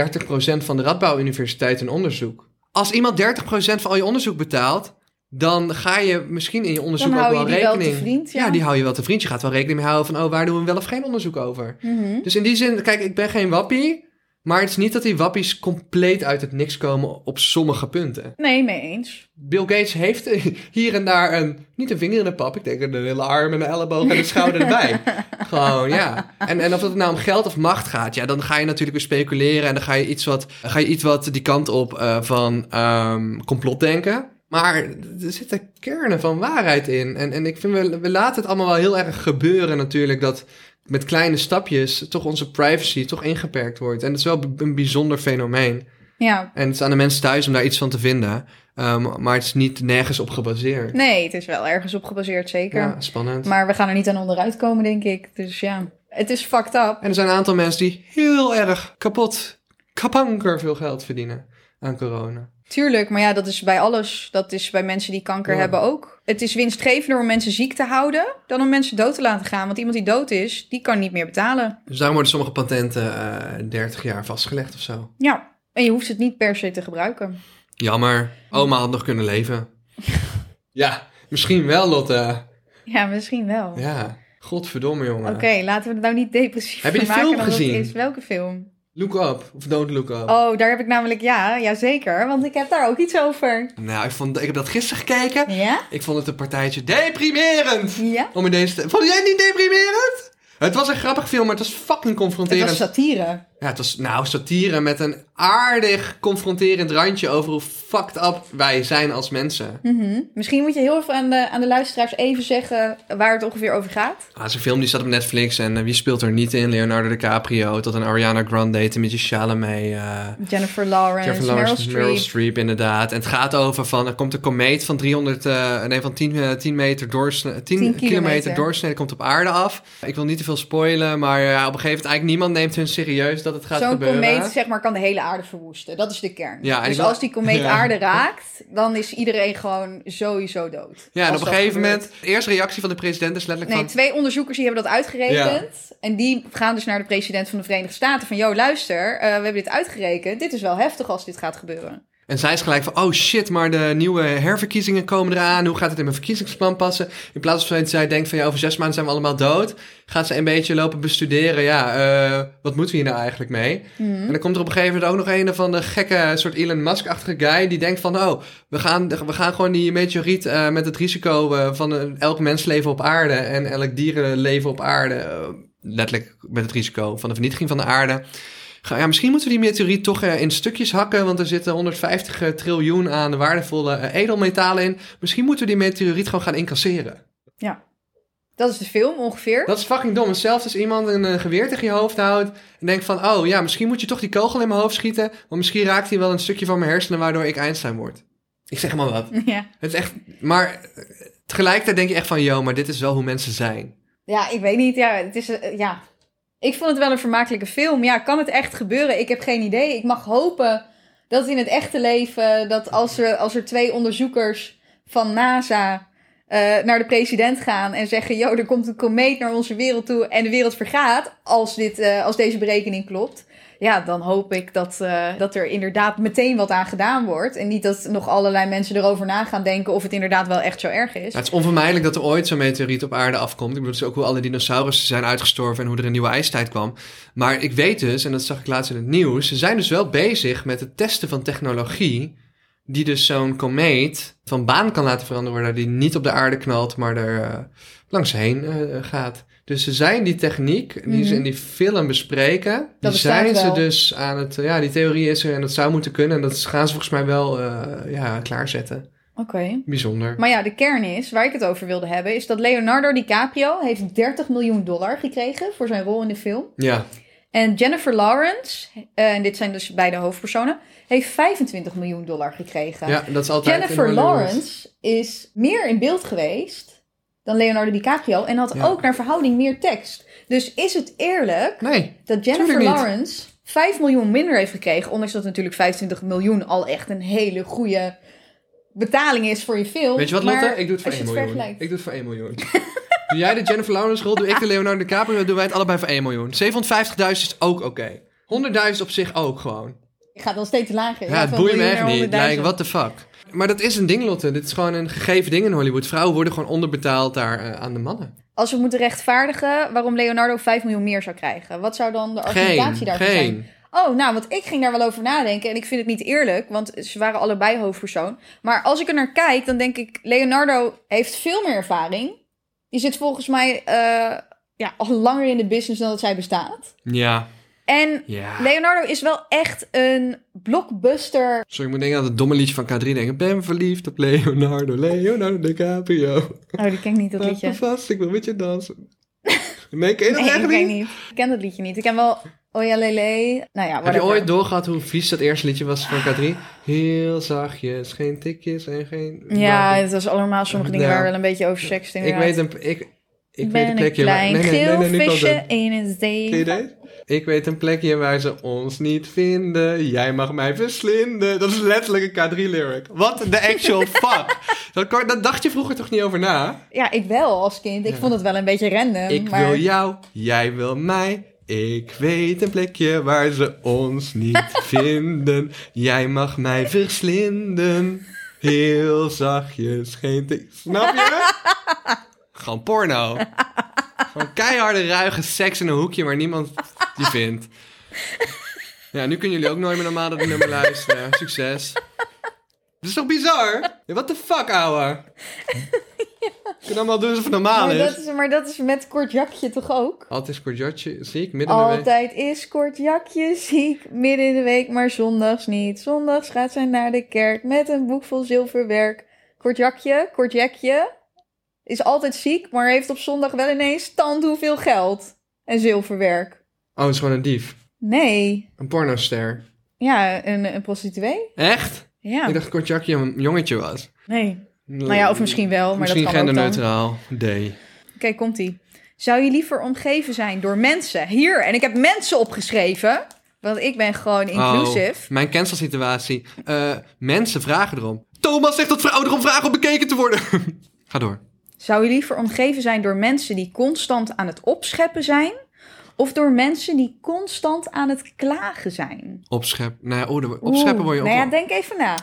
van de Radboud Universiteit in onderzoek. Als iemand 30% van al je onderzoek betaalt... dan ga je misschien in je onderzoek Dan ook hou wel je die wel rekening... te vriend, ja. die hou je wel te vriend. Je gaat wel rekening mee houden van... oh, waar doen we wel of geen onderzoek over? Mhm. Dus in die zin, kijk, ik ben geen wappie... maar het is niet dat die wappies compleet uit het niks komen op sommige punten. Nee, mee eens. Bill Gates heeft hier en daar een, niet een vinger in de pap, ik denk een hele arm en een elleboog en een schouder erbij. Gewoon, ja. En, en of het nou om geld of macht gaat, ja, dan ga je natuurlijk weer speculeren en dan ga je iets wat, ga je iets wat die kant op eh, van ehm, complot denken. Maar er zitten kernen van waarheid in. En, en ik vind, we, we laten het allemaal wel heel erg gebeuren natuurlijk, dat met kleine stapjes toch onze privacy toch ingeperkt wordt. En dat is wel een bijzonder fenomeen. Ja. En het is aan de mensen thuis om daar iets van te vinden. Ehm, maar het is niet nergens op gebaseerd. Nee, het is wel ergens op gebaseerd, zeker. Ja, spannend. Maar we gaan er niet aan onderuit komen, denk ik. Dus ja, het is fucked up. En er zijn een aantal mensen die heel erg kapot, kapanker veel geld verdienen aan corona. Tuurlijk, maar ja, dat is bij alles. Dat is bij mensen die kanker Ja. hebben ook. Het is winstgevender om mensen ziek te houden dan om mensen dood te laten gaan. Want iemand die dood is, die kan niet meer betalen. Dus daarom worden sommige patenten eh 30 jaar vastgelegd of zo. Ja, en je hoeft het niet per se te gebruiken. Jammer. Oma had nog kunnen leven. ja, misschien wel, Lotte. Ja, misschien wel. Ja, godverdomme, jongen. Oké, laten we het nou niet depressief Heb je die maken film dan dat gezien? Is. Welke film? Look up, of don't look up. Oh, daar heb ik namelijk, ja, ja zeker. Want ik heb daar ook iets over. Nou, ik, vond, ik heb dat gisteren gekeken. Ja? Ik vond het een partijtje deprimerend. Ja? Om in deze te- Vond jij het niet deprimerend? Het was een grappig film, maar het was fucking Het confronterend. was satire. Ja, het was nou satire met een aardig confronterend randje over hoe fucked up wij zijn als mensen. Mhm. Misschien moet je heel even aan de, aan de luisteraars even zeggen waar het ongeveer over gaat. Ah, zijn film die staat op Netflix en eh, wie speelt er niet in? Leonardo DiCaprio, tot een Ariana Grande, Timothy Chalamet, eh Jennifer Lawrence, Jennifer Lawrence, Eh, Meryl Streep. inderdaad. En het gaat over van, er komt een komeet van 300, eh, nee, van 10, eh, 10 meter doorsne, 10, kilometer, kilometer. doorsnede komt op aarde af. Ik wil niet te veel spoilen, maar eh, op een gegeven moment eigenlijk niemand neemt hun serieus dat het gaat Zo'n gebeuren. komeet zeg maar, kan de hele aarde verwoesten. Dat is de kern. Ja, en dus ik wil- als die komeet Ja. aarde raakt, dan is iedereen gewoon sowieso dood. Ja, en Als op een dat gegeven gebeurt. moment, de eerste reactie van de president is letterlijk Nee, van... twee onderzoekers die hebben dat uitgerekend. En die gaan dus naar de president van de Verenigde Staten van... ...joh, luister, eh, we hebben dit uitgerekend. Dit is wel heftig als dit gaat gebeuren. En zij is gelijk van, oh shit, maar de nieuwe herverkiezingen komen eraan. Hoe gaat het in mijn verkiezingsplan passen? In plaats van dat zij denkt van, ja, over zes maanden zijn we allemaal dood. Gaat ze een beetje lopen bestuderen. Ja, eh, wat moeten we hier nou eigenlijk mee? En dan komt er op een gegeven moment ook nog een van de gekke soort Elon Musk-achtige guy. Die denkt van, oh, we gaan, we gaan gewoon die meteoriet eh, met het risico eh, van eh, elk mensleven op aarde. En elk dierenleven op aarde. eh, letterlijk met het risico van de vernietiging van de aarde. Ga- Ja, misschien moeten we die meteoriet toch eh, in stukjes hakken, want er zitten 150 triljoen aan waardevolle eh, edelmetalen in. Misschien moeten we die meteoriet gewoon gaan incasseren. Dat is de film ongeveer. Dat is fucking dom. En zelfs als iemand een eh, geweer tegen je hoofd houdt en denkt van, oh ja, misschien moet je toch die kogel in mijn hoofd schieten, want misschien raakt hij wel een stukje van mijn hersenen waardoor ik Einstein word. Ik zeg maar wat. Ja. Het is echt, maar eh, tegelijkertijd denk je echt van, yo, maar dit is wel hoe mensen zijn. ja, ik weet niet. Ja, het is, eh, ja. Ik vond het wel een vermakelijke film. Ja, kan het echt gebeuren? Ik heb geen idee. Ik mag hopen dat in het echte leven... dat als er, als er twee onderzoekers van NASA... eh, naar de president gaan en zeggen: Yo, er komt een komeet naar onze wereld toe en de wereld vergaat. Als, dit, eh, als deze berekening klopt. Ja, dan hoop ik dat, eh, dat er inderdaad meteen wat aan gedaan wordt. En niet dat nog allerlei mensen erover na gaan denken of het inderdaad wel echt zo erg is. Nou, het is onvermijdelijk dat er ooit zo'n meteoriet op aarde afkomt. Ik bedoel, het is ook hoe alle dinosaurussen zijn uitgestorven en hoe er een nieuwe ijstijd kwam. Maar ik weet dus, en dat zag ik laatst in het nieuws, ze zijn dus wel bezig met het testen van technologie. Die dus zo'n komeet van baan kan laten veranderen, waardoor die niet op de aarde knalt, maar er eh, langs heen eh, gaat. Dus ze zijn die techniek die ze Mhm. in die film bespreken, Dat die bestaat zijn ze wel. dus aan het, ja, die theorie is er en dat zou moeten kunnen. En dat gaan ze volgens mij wel eh, ja, klaarzetten. Oké. Bijzonder. Maar ja, de kern is, waar ik het over wilde hebben, is dat Leonardo DiCaprio heeft 30 miljoen dollar gekregen voor zijn rol in de film. Ja. En Jennifer Lawrence, eh, en dit zijn dus beide hoofdpersonen, heeft 25 miljoen dollar gekregen. ja, dat is altijd. Jennifer in Hollywood. Lawrence is meer in beeld geweest dan Leonardo DiCaprio en had Ja. ook naar verhouding meer tekst. Dus is het eerlijk Nee. dat Jennifer Tuurlijk niet. Lawrence 5 miljoen minder heeft gekregen, ondanks dat natuurlijk 25 miljoen al echt een hele goede betaling is voor je film. Weet je wat, Maar Lotte? Ik doe het voor als 1 je het miljoen. vergelijkt- Ik doe het voor 1 miljoen. doe jij de Jennifer Lawrence rol, doe ik de Leonardo DiCaprio, doen wij het allebei voor 1 miljoen. 750.000 is ook oké. 100.000 op zich ook gewoon. Je gaat wel steeds lager. Ja, het boeit me echt niet. Like, what the fuck. Maar dat is een ding, Lotte. Dit is gewoon een gegeven ding in Hollywood. Vrouwen worden gewoon onderbetaald daar eh, aan de mannen. Als we moeten rechtvaardigen waarom Leonardo 5 miljoen meer zou krijgen. Wat zou dan de Geen, argumentatie daarvoor zijn? geen. Oh, nou, want ik ging daar wel over nadenken. En ik vind het niet eerlijk, want ze waren allebei hoofdpersoon. Maar als ik er naar kijk, dan denk ik... Leonardo heeft veel meer ervaring. Die zit volgens mij eh, ja, al langer in de business dan dat zij bestaat. Ja, En ja. Leonardo is wel echt een blockbuster Sorry, ik moet denken aan het domme liedje van K3. Denk, ik ben verliefd op Leonardo, Leonardo DiCaprio. Oh, die ken ik niet, dat Laat liedje. me vast, ik wil met je dansen. Nee, ken je dat Nee, ik echt ken niet? niet. Ik ken dat liedje niet. Ik ken wel Oyalele. Nou ja, Heb je whatever. ooit doorgehad hoe vies dat eerste liedje was van K3? Heel zachtjes, geen tikjes en geen... Ja, het was allemaal sommige dingen Ja. waar wel een beetje over seks ik inderdaad. weet een, ik, ik ben weet een plekje een waar... klein Nee, nee, nee, geel nee, niet visje altijd. in een zee. Ken je deze? Ik weet een plekje waar ze ons niet vinden. Jij mag mij verslinden. Dat is letterlijk een K3-lyric. What the actual fuck? Dat, kon- dat dacht je vroeger toch niet over na? Ja, ik wel als kind. Ik vond het wel een beetje random. Ik maar... wil jou, jij wil mij. Ik weet een plekje waar ze ons niet vinden. Jij mag mij verslinden. Heel zachtjes, geen te... Snap je? Gewoon porno. Gewoon keiharde, ruige seks in een hoekje waar niemand je vindt. Ja, nu kunnen jullie ook nooit meer normaal dat nummer luisteren. Succes. Dat is toch bizar? Ja, what the fuck, ouwe? Ik kan allemaal doen alsof het normaal Maar is. dat is, maar dat is met kort jakje toch ook? Altijd kortjatje, zie ik, midden in de week. Altijd is kort jakje ziek, midden in de week, maar zondags niet. Zondags gaat zij naar de kerk met een boek vol zilverwerk. Kort jakje, kort jakje, is altijd ziek, maar heeft op zondag wel ineens tand hoeveel geld en zilverwerk. Oh, het is gewoon een dief. Nee, Een pornoster. ja, een, een prostituee. Echt? Ja, Ik dacht kortjakje een jongetje was. nee. Nou ja, of misschien wel, maar misschien dat kan ook dan. genderneutraal. D. Oké, komt-ie. Zou je liever omgeven zijn door mensen? Hier, en ik heb mensen opgeschreven, want ik ben gewoon inclusief. Oh, mijn cancelsituatie. Eh, mensen vragen erom. Thomas zegt dat verouderen om vragen om bekeken te worden. Ga door. Zou je liever omgeven zijn door mensen die constant aan het opscheppen zijn? Of door mensen die constant aan het klagen zijn? Opschep. Nou ja, oh, daar- opscheppen word je Oeh, ook Nou wel- ja, denk even na.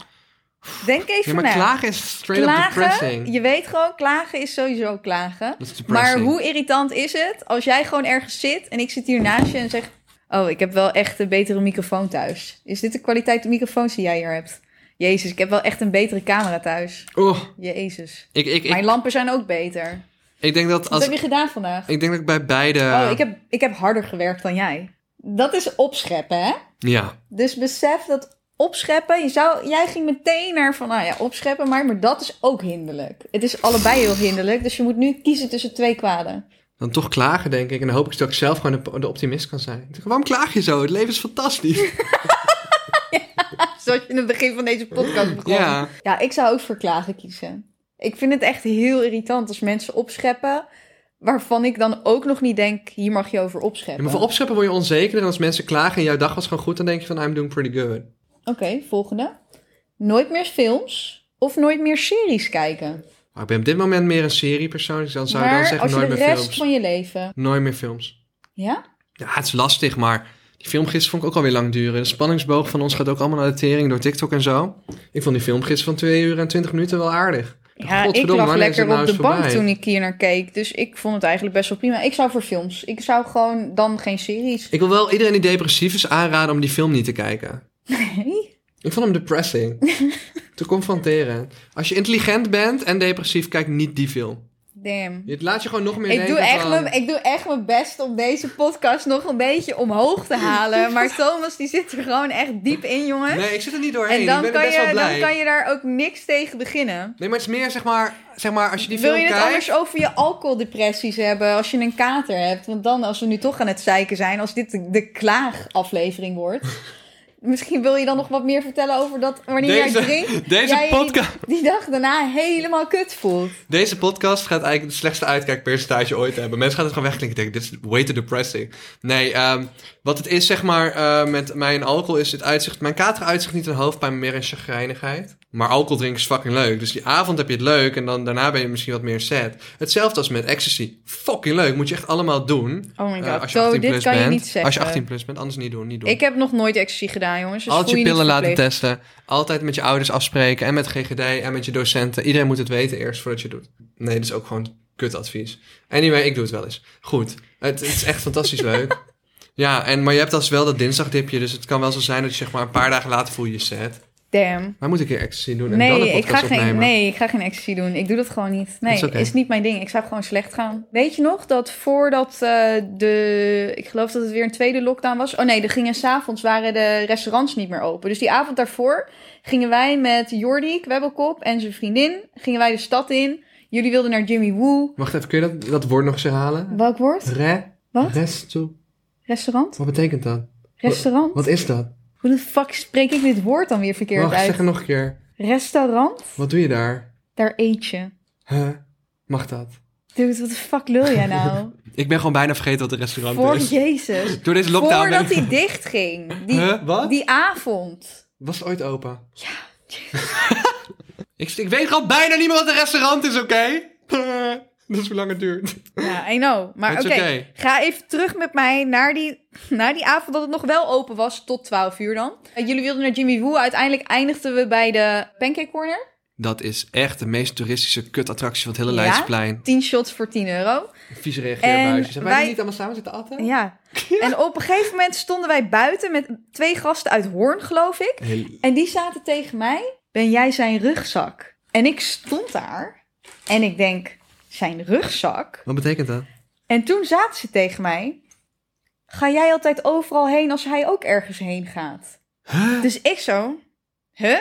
Denk even Ja, maar na. klagen is straight up depressing. je weet gewoon, klagen is sowieso klagen. Dat is depressing. Maar hoe irritant is het als jij gewoon ergens zit en ik zit hier naast je en zeg... Oh, ik heb wel echt een betere microfoon thuis. Is dit de kwaliteit microfoons die jij hier hebt? Jezus, ik heb wel echt een betere camera thuis. Oh, Jezus. ik, ik, Mijn ik, lampen zijn ook beter. ik denk dat Wat als... heb je gedaan vandaag? Ik eh, denk dat ik bij beide... Oh, ik heb, ik heb harder gewerkt dan jij. Dat is opscheppen, hè? Ja. Dus besef dat opscheppen... Je zou, jij ging meteen naar van, nou ja, opscheppen maar... Maar dat is ook hinderlijk. Het is allebei heel hinderlijk. Dus je moet nu kiezen tussen twee kwaden. Dan toch klagen, denk ik. En dan hoop ik dat ik zelf gewoon de, de optimist kan zijn. Ik denk, Waarom klaag je zo? Het leven is fantastisch. Zoals je in het begin van deze podcast begon. ja. Ja, ik zou ook voor klagen kiezen. Ik vind het echt heel irritant als mensen opscheppen... waarvan ik dan ook nog niet denk... hier mag je over Ja, opscheppen. maar voor opscheppen word je onzeker. En als mensen klagen en jouw dag was gewoon goed, dan denk je van I'm doing pretty good. Oké, volgende. Nooit meer films of nooit meer series kijken. Maar ik ben op dit moment meer een seriepersoon. Dus dan zou je dan maar zeggen als je nooit de meer rest films. van je leven... Nooit meer films. Ja? Ja, het is lastig, maar die film gisteren vond ik ook alweer lang duren. De spanningsboog van ons gaat ook allemaal naar de tering door TikTok en zo. Ik vond die film gisteren van 2 uur en 20 minuten wel aardig. Ja, ik godverdomme, lag wanneer is het lekker nou op eens de bank voorbij? toen ik hier naar keek. Dus ik vond het eigenlijk best wel prima. Ik zou voor films. Ik zou gewoon dan geen series. Ik wil wel iedereen die depressief is aanraden om die film niet te kijken. Nee. Ik vond hem depressing. te confronteren. Als je intelligent bent en depressief, kijk niet die film. Damn. Het laat je gewoon nog meer Ik denken doe, echt van- mijn, ik doe echt mijn best om deze podcast nog een beetje omhoog te halen. Maar Thomas die zit er gewoon echt diep in, jongen. Nee, ik zit er niet doorheen. en dan ik ben er kan, best wel je, blij. dan kan je daar ook niks tegen beginnen. Nee, maar het is meer zeg maar, zeg maar als je die Wil film je het kijkt. anders over je alcoholdepressies hebben als je een kater hebt? Want dan, als we nu toch aan het zeiken zijn, als dit de, de klaagaflevering wordt. misschien wil je dan nog wat meer vertellen over dat wanneer Deze- jij drinkt. deze jij je podcast- Die, die dag daarna helemaal kut voelt. Deze podcast gaat eigenlijk het slechtste uitkijkpercentage ooit hebben. Mensen gaan het gewoon wegklinken. Denken, dit is way too depressing. Nee, ehm, wat het is zeg maar eh, met mijn alcohol is het uitzicht. Mijn kater uitzicht niet in hoofdpijn, maar meer in chagrijnigheid. Maar alcohol drinken is fucking leuk. Dus die avond heb je het leuk en dan daarna ben je misschien wat meer sad. Hetzelfde als met ecstasy. Fucking leuk. Moet je echt allemaal doen. Oh my god, Eh, als je Zo, 18 dit plus kan je bent. niet zeggen. Als je 18 plus bent, anders niet doen. Niet doen. Ik heb nog nooit ecstasy gedaan, jongens. Dus Altijd voel je niet pillen laten verplicht. testen. Altijd met je ouders afspreken. En met GGD en met je docenten. Iedereen moet het weten eerst voordat je het doet. Nee, dat is ook gewoon kut advies. Anyway, ik doe het wel eens. Goed. Het, het is echt fantastisch leuk. Ja, en, maar je hebt als wel dat dinsdagdipje. Dus het kan wel zo zijn dat je zeg maar een paar dagen later voel je je sad. Damn. Maar moet ik hier ecstasy doen en dan een Nee ik, podcast ga geen, opnemen? nee, ik ga geen ecstasy doen. Ik doe dat gewoon niet. Nee, Dat is is, oké. niet mijn ding. Ik zou gewoon slecht gaan. Weet je nog dat voordat eh, de... Ik geloof dat het weer een tweede lockdown was. Oh nee, er gingen s'avonds waren de restaurants niet meer open. Dus die avond daarvoor gingen wij met Jordi Kwebbelkop en zijn vriendin... gingen wij de stad in. Jullie wilden naar Jimmy Woo. Wacht even, kun je dat, dat woord nog eens herhalen? Welk woord? Re, Wat? restu. Restaurant? Wat betekent dat? Restaurant? Wat is dat? Hoe de fuck spreek ik dit woord dan weer verkeerd Wacht, zeg uit? het nog een keer. Restaurant? Wat doe je daar? Daar eet je. Huh? Mag dat? Dude, wat de fuck lul jij nou? Ik ben gewoon bijna vergeten wat een restaurant Voor is. Jezus. Door deze lockdown. Voordat ben ik- hij dicht ging. Die, Huh? Wat? die avond. Was het ooit open? Ja. ik, ik weet gewoon bijna niet meer wat een restaurant is, oké? Dat is hoe lang het duurt. Ja, I know. Maar It's oké, okay. ga even terug met mij naar die, naar die avond dat het nog wel open was tot 12 uur dan. Eh, Jullie wilden naar Jimmy Woo. Uiteindelijk eindigden we bij de Pancake Corner. Dat is echt de meest toeristische kutattractie van het hele Ja? Leidseplein. 10 shots voor 10 euro. Vieze reageerbuisjes. En Hebben wij die wij- niet allemaal samen zitten atten? Ja. En op een gegeven moment stonden wij buiten met twee gasten uit Hoorn, geloof ik. Heel- En die zaten tegen mij, ben jij zijn rugzak? En ik stond daar en ik denk, zijn rugzak? Wat betekent dat? En toen zaten ze tegen mij: Ga jij altijd overal heen als hij ook ergens heen gaat? Dus ik zo: Huh?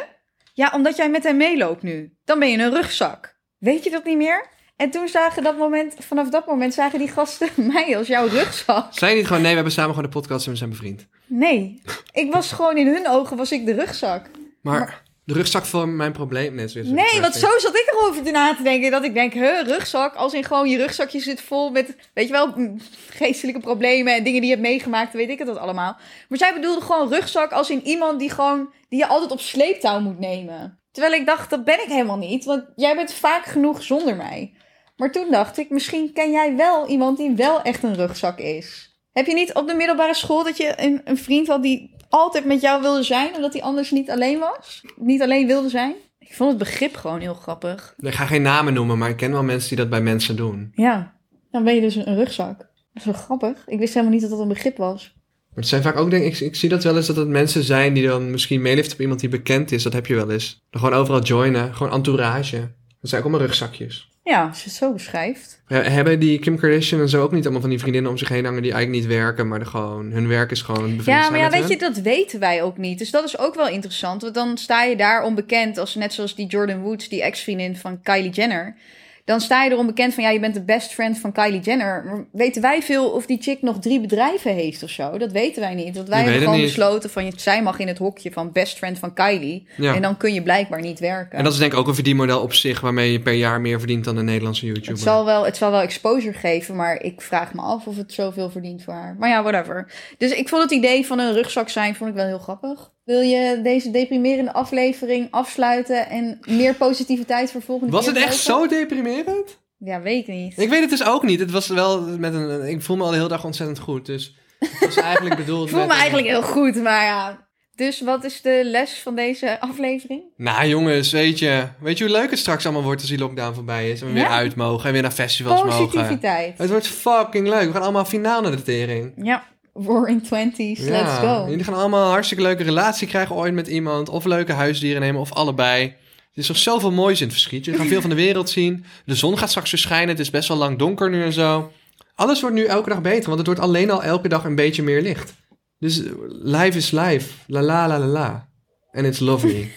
Ja, omdat jij met hem meeloopt nu. Dan ben je een rugzak. Weet je dat niet meer? En toen zagen dat moment, vanaf dat moment zagen die gasten mij als jouw rugzak. Zijn niet gewoon, nee, we hebben samen gewoon de podcast en we zijn bevriend. Nee, ik was gewoon in hun ogen was ik de rugzak. Maar, de rugzak van mijn probleem net weer. Nee, want zo zat ik erover te na te denken. Dat ik denk, huh, rugzak. Als in gewoon je rugzakje zit vol met, weet je wel, mm, geestelijke problemen en dingen die je hebt meegemaakt. Weet ik het dat allemaal. Maar zij bedoelde gewoon rugzak als in iemand die gewoon, die je altijd op sleeptouw moet nemen. Terwijl ik dacht, dat ben ik helemaal niet. Want jij bent vaak genoeg zonder mij. Maar toen dacht ik, misschien ken jij wel iemand die wel echt een rugzak is. Heb je niet op de middelbare school dat je een, een vriend had die altijd met jou wilde zijn, omdat hij anders niet alleen was? Niet alleen wilde zijn? Ik vond het begrip gewoon heel grappig. Ik ga geen namen noemen, maar ik ken wel mensen die dat bij mensen doen. Ja, dan ben je dus een rugzak. Dat is wel grappig. Ik wist helemaal niet dat dat een begrip was. Maar het zijn vaak ook, denk ik, ik zie dat wel eens dat het mensen zijn die dan misschien meeliften op iemand die bekend is. Dat heb je wel eens. Dan gewoon overal joinen, gewoon entourage. Dat zijn ook allemaal rugzakjes. Ja, als je het zo beschrijft. He- Hebben die Kim Kardashian en zo ook niet allemaal van die vriendinnen om zich heen hangen die eigenlijk niet werken, maar er gewoon, hun werk is gewoon bevriend Ja, zijn maar ja, met weet je, hen? dat weten wij ook niet. Dus dat is ook wel interessant. Want dan sta je daar onbekend, als, net zoals die Jordan Woods, die ex-vriendin van Kylie Jenner. Dan sta je er onbekend van, ja, je bent de best friend van Kylie Jenner. Maar weten wij veel of die chick nog drie bedrijven heeft of zo? Dat weten wij niet. Want wij Ik weet hebben het gewoon niet. besloten van, zij mag in het hokje van best friend van Kylie. Ja. En dan kun je blijkbaar niet werken. En dat is denk ik ook een verdienmodel op zich, waarmee je per jaar meer verdient dan een Nederlandse YouTuber. Het zal, wel, het zal wel exposure geven, maar ik vraag me af of het zoveel verdient voor haar. Maar ja, whatever. Dus ik vond het idee van een rugzak zijn vond ik wel heel grappig. Wil je deze deprimerende aflevering afsluiten en meer positiviteit voor volgende Was keer? het echt gebruiken? zo deprimerend? Ja, weet ik niet. Ik weet het dus ook niet. Het was wel met een. Ik voel me al de hele dag ontzettend goed. Dus het was eigenlijk bedoeld. Ik voel met me een- eigenlijk heel goed, maar ja. Dus wat is de les van deze aflevering? Nou jongens, weet je, weet je hoe leuk het straks allemaal wordt als die lockdown voorbij is en we Ja. weer uit mogen en weer naar festivals mogen. Positiviteit. Het wordt fucking leuk. We gaan allemaal finaal naar de tering. Ja, Roaring Twenties, Ja. let's go. Jullie gaan allemaal een hartstikke leuke relatie krijgen ooit met iemand. Of leuke huisdieren nemen, of allebei. Er is nog zoveel moois in het verschiet. Jullie gaan veel van de wereld zien. De zon gaat straks weer schijnen. Het is best wel lang donker nu en zo. Alles wordt nu elke dag beter, want het wordt alleen al elke dag een beetje meer licht. Dus eh, life is life. La la la la la. And it's lovely.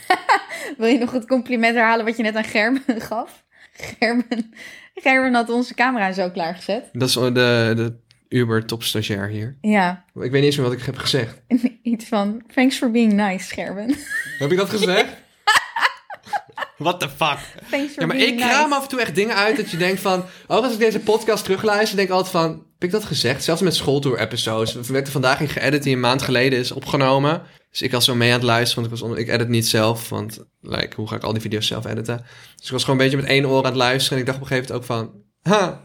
Wil je nog het compliment herhalen wat je net aan Gerben gaf? Gerben, Gerben had onze camera zo klaargezet. Dat is de, de Uber topstagiair hier. Ja, Ik weet niet eens meer wat ik heb gezegd. iets van thanks for being nice, Gerben. Heb ik dat gezegd? What the fuck? Thanks for Ja, maar being ik nice. kraam af en toe echt dingen uit dat je denkt van... Ook als ik deze podcast terugluister, denk ik altijd van... Heb ik dat gezegd? Zelfs met schooltour-episodes. We werden vandaag in geëdit die een maand geleden is opgenomen. Dus ik was zo mee aan het luisteren, want ik, was onder, ik edit niet zelf. Want like, hoe ga ik al die video's zelf editen? Dus ik was gewoon een beetje met één oor aan het luisteren. En ik dacht op een gegeven moment ook van... Ha,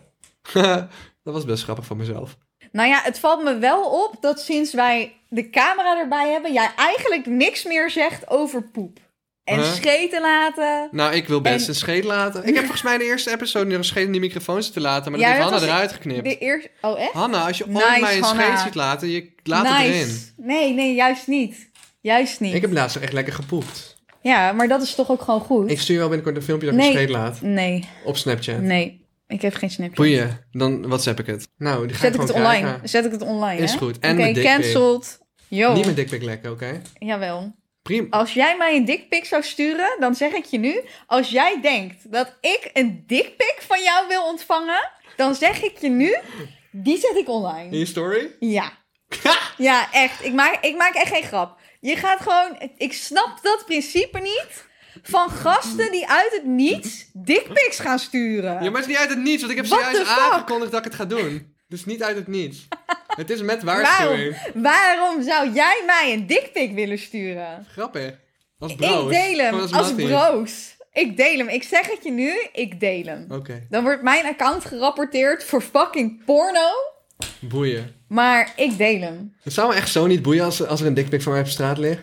dat was best grappig van mezelf. Nou ja, het valt me wel op dat sinds wij de camera erbij hebben, jij eigenlijk niks meer zegt over poep. En Huh? scheten laten. Nou, ik wil best En- een scheet laten. Ik heb volgens mij in de eerste episode nog een scheet in die microfoon zitten laten. Maar dat Ja, heeft dat Hanna was- eruit geknipt. De eerste. Oh, echt? Hanna, als je Nice, ooit mij een Hanna. scheet ziet laten, je laat het erin. nice. Nee, nee, juist niet. Juist niet. Ik heb laatst echt lekker gepoept. Ja, maar dat is toch ook gewoon goed? Ik stuur je wel binnenkort een filmpje dat ik Nee. een scheet laat. Nee, Op Snapchat. nee. Ik heb geen Snapchat. Boeien. Dan WhatsApp ik het. Nou, die ga Zet ik ik het gewoon online. krijgen. Zet ik het online, Is hè? goed. En Oké, mijn dickpic. cancelled. Yo. Niet met dikpik lekken, oké? Jawel. Prima. Als jij mij een dikpik zou sturen, dan zeg ik je nu... als jij denkt dat ik een dikpik van jou wil ontvangen... dan zeg ik je nu, die zet ik In online. je story? Ja. Ja, echt. Ik maak, ik maak echt geen grap. Je gaat gewoon... Ik snap dat principe niet... van gasten die uit het niets dikpiks gaan sturen. Ja, maar het is niet uit het niets, want ik heb What zojuist the fuck? aangekondigd dat ik het ga doen. Dus niet uit het niets. het is met waarschuwing. Waarom, waarom zou jij mij een dikpik willen sturen? Grappig. Als broos. Ik deel hem Gewoon als, mattie. broos. Ik deel hem. Ik zeg het je nu. Ik deel hem. Oké, Dan wordt mijn account gerapporteerd voor fucking porno. boeien. Maar ik deel hem. Het zou me echt zo niet boeien als, als er een dikpik van mij op straat ligt.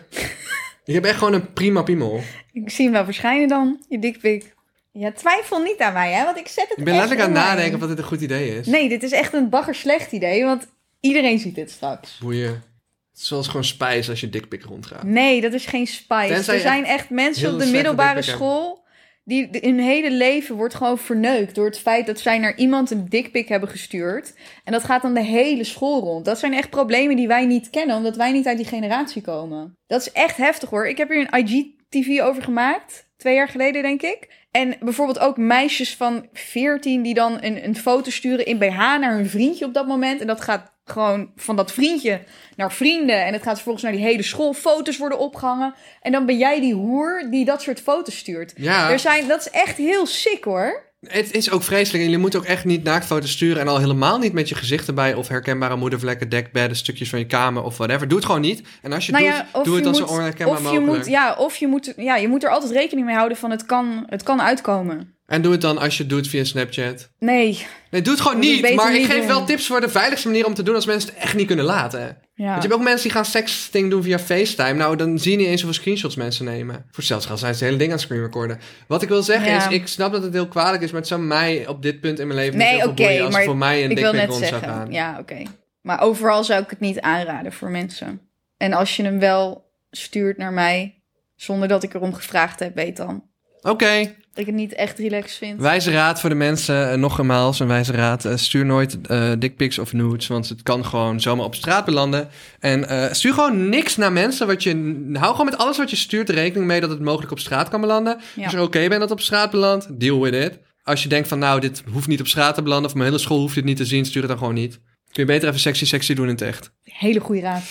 ik heb echt gewoon een prima piemel. Ik zie hem wel verschijnen dan, je dikpik. Ja, twijfel niet aan mij, hè? Want ik zet het Ik ben echt letterlijk aan het online. nadenken of dat dit een goed idee is. Nee, dit is echt een bagger slecht idee, want iedereen ziet dit straks. Boeien. Het is zoals gewoon spijs als je dikpik rondgaat. Nee, dat is geen spice. Tenzij er je zijn echt mensen heel op de slechte middelbare dikpik hebt. school... die de- hun hele leven wordt gewoon verneukt... door het feit dat zij naar iemand een dikpik hebben gestuurd. En dat gaat dan de hele school rond. Dat zijn echt problemen die wij niet kennen... omdat wij niet uit die generatie komen. Dat is echt heftig hoor. Ik heb hier een IGTV over gemaakt. Twee jaar geleden, denk ik. En bijvoorbeeld ook meisjes van 14 die dan een, een foto sturen in BH naar hun vriendje op dat moment. En dat gaat gewoon van dat vriendje naar vrienden. En het gaat vervolgens naar die hele school. Foto's worden opgehangen. En dan ben jij die hoer die dat soort foto's stuurt. Ja, Er zijn, dat is echt heel sick hoor. het is ook vreselijk. En jullie moeten ook echt niet naaktfoto's sturen. En al helemaal niet met je gezicht erbij. Of herkenbare moedervlekken, dekbedden, stukjes van je kamer of whatever. Doe het gewoon niet. En als je het doet, Nou of doe het je dan zo moet- onherkenbaar of je mogelijk. moet, ja, of je moet, ja, je moet er altijd rekening mee houden van het kan, het kan uitkomen. En doe het dan als je het doet via Snapchat. Nee, Nee, doe het gewoon Moet je niet. beter Maar ik niet geef doen. wel tips voor de veiligste manier om te doen als mensen het echt niet kunnen laten. ja. Want je hebt ook mensen die gaan sexting doen via FaceTime. Nou, dan zie je niet eens hoeveel screenshots mensen nemen. Voor hetzelfde geld zijn ze het hele ding aan het screenrecorden. Wat ik wil zeggen Ja. is, ik snap dat het heel kwalijk is, maar het zou mij op dit punt in mijn leven Nee, niet heel oké, veel boeien als maar er voor mij een ik wil dikpik net rond zou zeggen. gaan. Ja, oké. Maar overal zou ik het niet aanraden voor mensen. En als je hem wel stuurt naar mij, zonder dat ik erom gevraagd heb, weet dan Oké, dat ik het niet echt relaxed vind. wijze raad voor de mensen. eh, nogmaals, een wijze raad. Eh, stuur nooit eh dickpics of nudes, want het kan gewoon zomaar op straat belanden. En eh, stuur gewoon niks naar mensen. Wat je, hou gewoon met alles wat je stuurt rekening mee dat het mogelijk op straat kan belanden. Ja. Als je oké bent dat het op straat belandt, deal with it. Als je denkt van nou, dit hoeft niet op straat te belanden... of mijn hele school hoeft dit niet te zien, stuur het dan gewoon niet. Kun je beter even sexy sexy doen in het echt. Hele goede raad.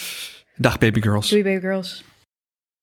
Dag baby girls. Doei, baby girls.